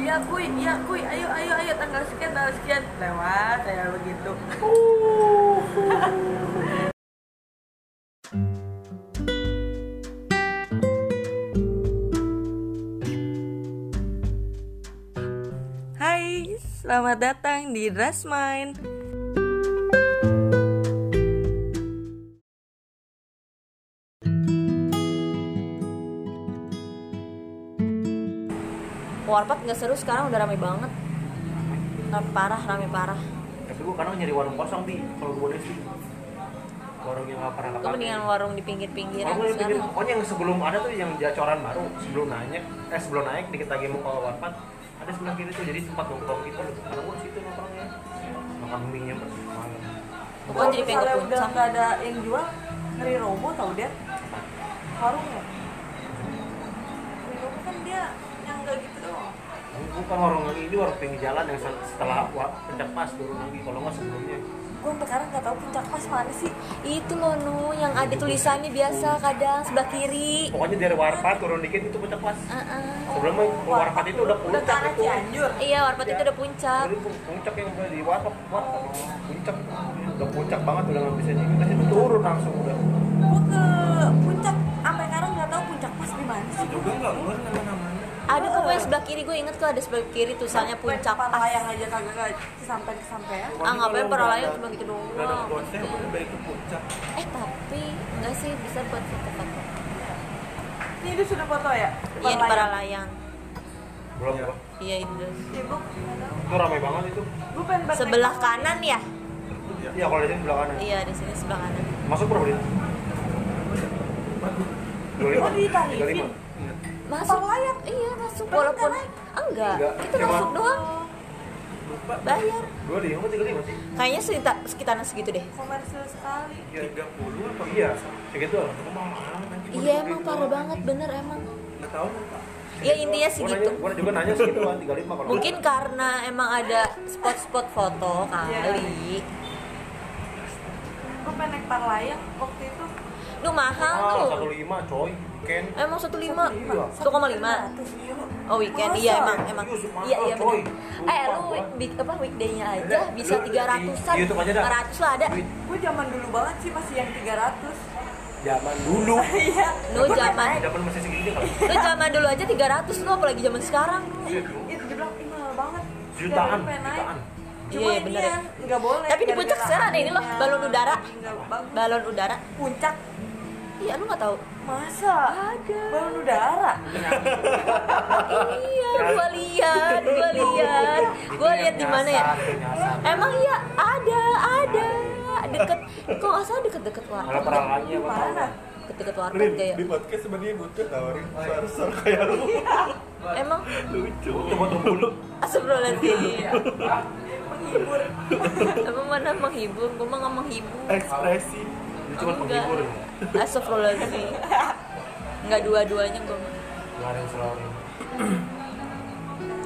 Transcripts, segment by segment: iya kuy iya kuy ayo ayo ayo tanggal sekian tanggal sekian lewat saya begitu Hai, selamat datang di Dressmind. Warpat nggak seru sekarang udah rame banget. Rame parah, rame parah. tapi gue kadang nyari warung kosong bi kalau gue sih warung yang nggak pernah Itu kepake mendingan warung di pinggir-pinggiran kalau gue pikir sekarang. pokoknya yang sebelum ada tuh yang jacoran baru sebelum naik eh sebelum naik dikit lagi mau ke warpat ada sebelah kiri tuh jadi tempat nongkrong gitu karena gue situ nongkrongnya makan mie nya malam Bukan jadi pengen Kalau Oh, ke udah puncak. nggak ada yang jual, ngeri robo tau dia. Warungnya. Ngeri robo kan dia yang nggak gitu doang. bukan warung lagi ini warung pinggir jalan yang se- setelah wa- pencak pas turun lagi kalau nggak sebelumnya Gue sampai sekarang nggak tahu puncak mas mana sih. Itu loh Nu, yang ada tulisannya biasa kadang sebelah kiri. pokoknya dari warpat turun dikit itu pencak pas Heeh. sebelum warpat itu udah Udah ya? ke puncak arah itu Cianjur. Iya, Warpat itu udah puncak. Jadi puncak yang udah di warteg, warteg puncak udah puncak banget udah nggak bisa jadi terus itu turun langsung udah Gue ke puncak sampai sekarang nggak tahu puncak mas di mana sih. juga nggak ngurus nama-namanya Ada kok yang sebelah kiri gue inget kok ada sebelah kiri tulisannya puncak. Pan layang aja kagak kagak sampai ya. kesampean. Ah ngapain para layang cuma gitu doang. nggak ada konser udah balik ke puncak Eh tapi enggak sih bisa buat foto-foto. Ini dia sudah foto ya? Iya di para layang. belum ya. Iya itu. Ya, gue nggak tahu. itu ramai banget itu Gue pengen balik- Sebelah kanan ya? iya kalau di sini sebelah kanan Iya di sini sebelah kanan. masuk berapa dia dua lima Oh, ditarifin. tiga lima Masuk Par layang? Iya masuk Bayar walaupun nggak enggak. Enggak, Iya, Kita cuma- masuk doang bayar. dua lima tiga lima sih Kayaknya sekitar sekitaran segitu deh. Komersil sekali. tiga puluh apa iya segitu lah Iya emang parah banget bener emang. nggak tahu Ya intinya Gua nanya, segitu. gua juga nanya segitu kan, 35 kalau Mungkin karena emang ada spot-spot foto kali. Iya. Gue pengen naik par layang waktu itu Lu mahal Ah, lu. 15 coy, weekend. Emang satu lima, Iya. satu koma lima. Oh weekend, iya Masa? emang emang. Serius, mahal, Iya iya coy. benar. Eh lu Lupa week, gua. week- apa weekday-nya aja bisa Lu- tiga ratusan, di YouTube aja dah. lima ratus lah ada. Duit Gue zaman dulu banget sih masih yang 300 zaman dulu. Iya Lu zaman Zaman masih segini kali. lu zaman dulu aja tiga ratus lu apalagi zaman sekarang. Itu gue bilang, "Ih, mahal banget Jutaan, Jangan pengen naik. jutaan. Cuma Iya, ini bener ya, nggak boleh Tapi di puncak gara-gara sekarang ada ini loh, anginnya. balon udara. Nggak bagus. Balon udara. Puncak Iya lu nggak tahu. Masa? Ada Balon udara Iya, gua lihat, gua lihat, gua lihat di mana ya? Emang iya ada, ada deket, kok nggak salah deket-deket Kalau warteg, ya? perangkatnya apa tahu? Iya, Mana? deket-deket warteg Rin, kayak. di podcast sebenarnya butuh tawarin sponsor kayak lu Iya. Emang lucu. Coba tunggu dulu. Astagfirullahaladzim Menghibur Emang mana menghibur, gua mah nggak menghibur Ekspresi. Ini cuma penghibur. ya. Astagfirullahaladzim Nggak dua-duanya gua mah. Nggak ada yang selalu.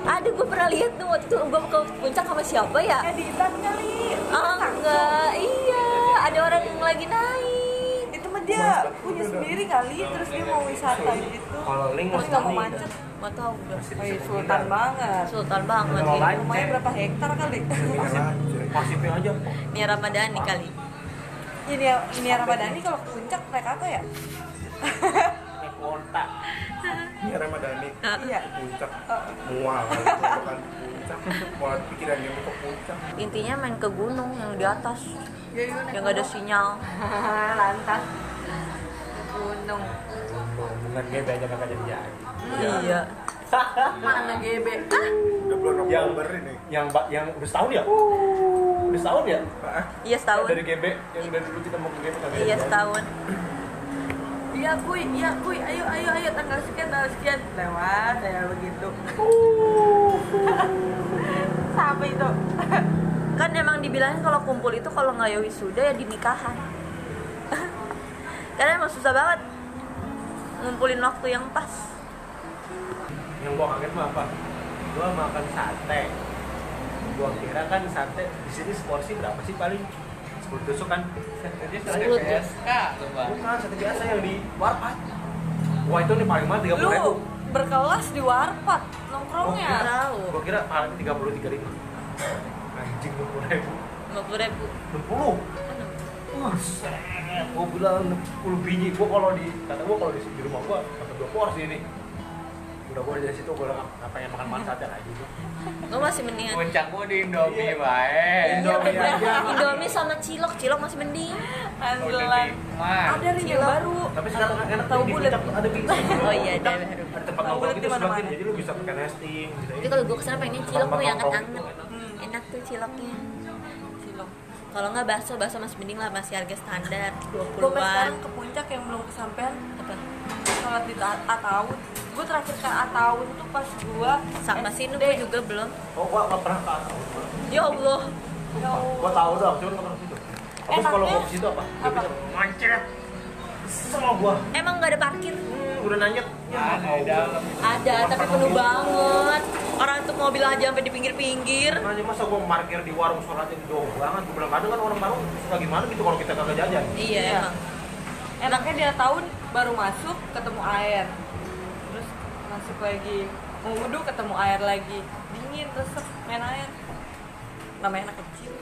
Ada gua pernah lihat tuh waktu itu gua ke puncak sama siapa ya? Kayak di Itan kali Oh. Ah, enggak, iya Ada orang yang lagi naik Itu mah dia punya sendiri kali Terus dia mau wisata gitu Kalau link Terus masih nggak mau ini. macet Nggak tahu udah Masih Wih, bisa sultan banget Sultan banget Kalau ya. lain, Rumahnya berapa hektar kali? Pasifnya aja. Ini Ramadhan nih kali Ini ya, ini ya Ramadhani kalau ke puncak naik apa ya? Naik kontak. Ini Ramadhani. Iya. Puncak. Mual. Bukan puncak. Mual pikiran dia mau ke puncak. Intinya main ke gunung yang di atas Ya, iya, naik Yang nggak ada sinyal Hahaha, Lantas gunung. Bener GB aja kakak jadi jadi. Iya Mana GB? Udah bulan Yang Oktober ini. yang ba- yang udah setahun ya? Udah setahun ya? Ah, Iya Uh. setahun Dari GB yang dari dulu kita mau ke GB kakak. jadi Iya jadi. setahun Iya kuy, iya kuy, ayo ayo ayo tanggal sekian tanggal sekian lewat saya begitu. Sampai itu. Kan emang dibilangin kalau kumpul itu kalau nggak ya wisuda ya di nikahan Karena emang susah banget Ngumpulin waktu yang pas yang gua kaget mah apa gua makan sate gua kira kan sate di sini seporsi berapa sih paling 10 tusuk kan dia sekarang Sepuluh ya tusuk. bukan sate biasa yang di warpat wah itu nih paling mahal tiga Lu ribu berkelas di warpat nongkrongnya. Tahu kira pahalanya tiga puluh tiga ribu anjing enam puluh ribu lima puluh ribu enam puluh Buset, gue bilang 60 biji gue kalau di kata gue kalau di, di rumah gue dapat dua porsi ini udah gue dari situ gue bilang nggak pengen makan ya, makan sate lagi gue masih mendingan Iya, Puncak gua di Indomie, baik. Indomie aja Indomie sama cilok, cilok masih mending. Udah dạ, Andalan. nikmat. Ada ring yang baru. tapi sekarang kan enak Tahu di bulat. Puncak tuh ada pingsan Oh iya, ada baru. ada tempat Tahu nongkrong bulat gitu di sebelah mana-mana. kiri jadi lu bisa pakai nesting bisa Tapi kalau gue kesana pengennya cilok tuh yang anget-anget. Hmm, Enak tuh ciloknya. cilok. Kalau nggak bakso, bakso masih mending lah, masih harga standar Gue 20-an. sekarang ke puncak yang belum kesampean Apa? sholat di Ta- Ataun. Gue terakhir ke Ataun tuh pas gue Sama sih SD. gue juga belum. oh gue nggak pernah ke atas Ya Allah. Ya Allah. gue tahu dong cuma nggak pernah ke situ terus kalau Enaknya- mau ke situ apa dia Apa? bisa mancet sama gue Emang nggak ada parkir? udah nanya ya, Ah, di dalam. Ada, tapi penuh banget. Orang tuh mobil aja sampai di pinggir-pinggir. Nanya masa gue parkir di warung sholat yang jauh banget Gue bilang kadang kan orang warung suka gimana gitu kalau kita kagak jajan Iya, Iya. emang. enaknya dia tahun baru masuk ketemu air terus masuk lagi mau wudhu ketemu air lagi dingin terus main air namanya anak kecil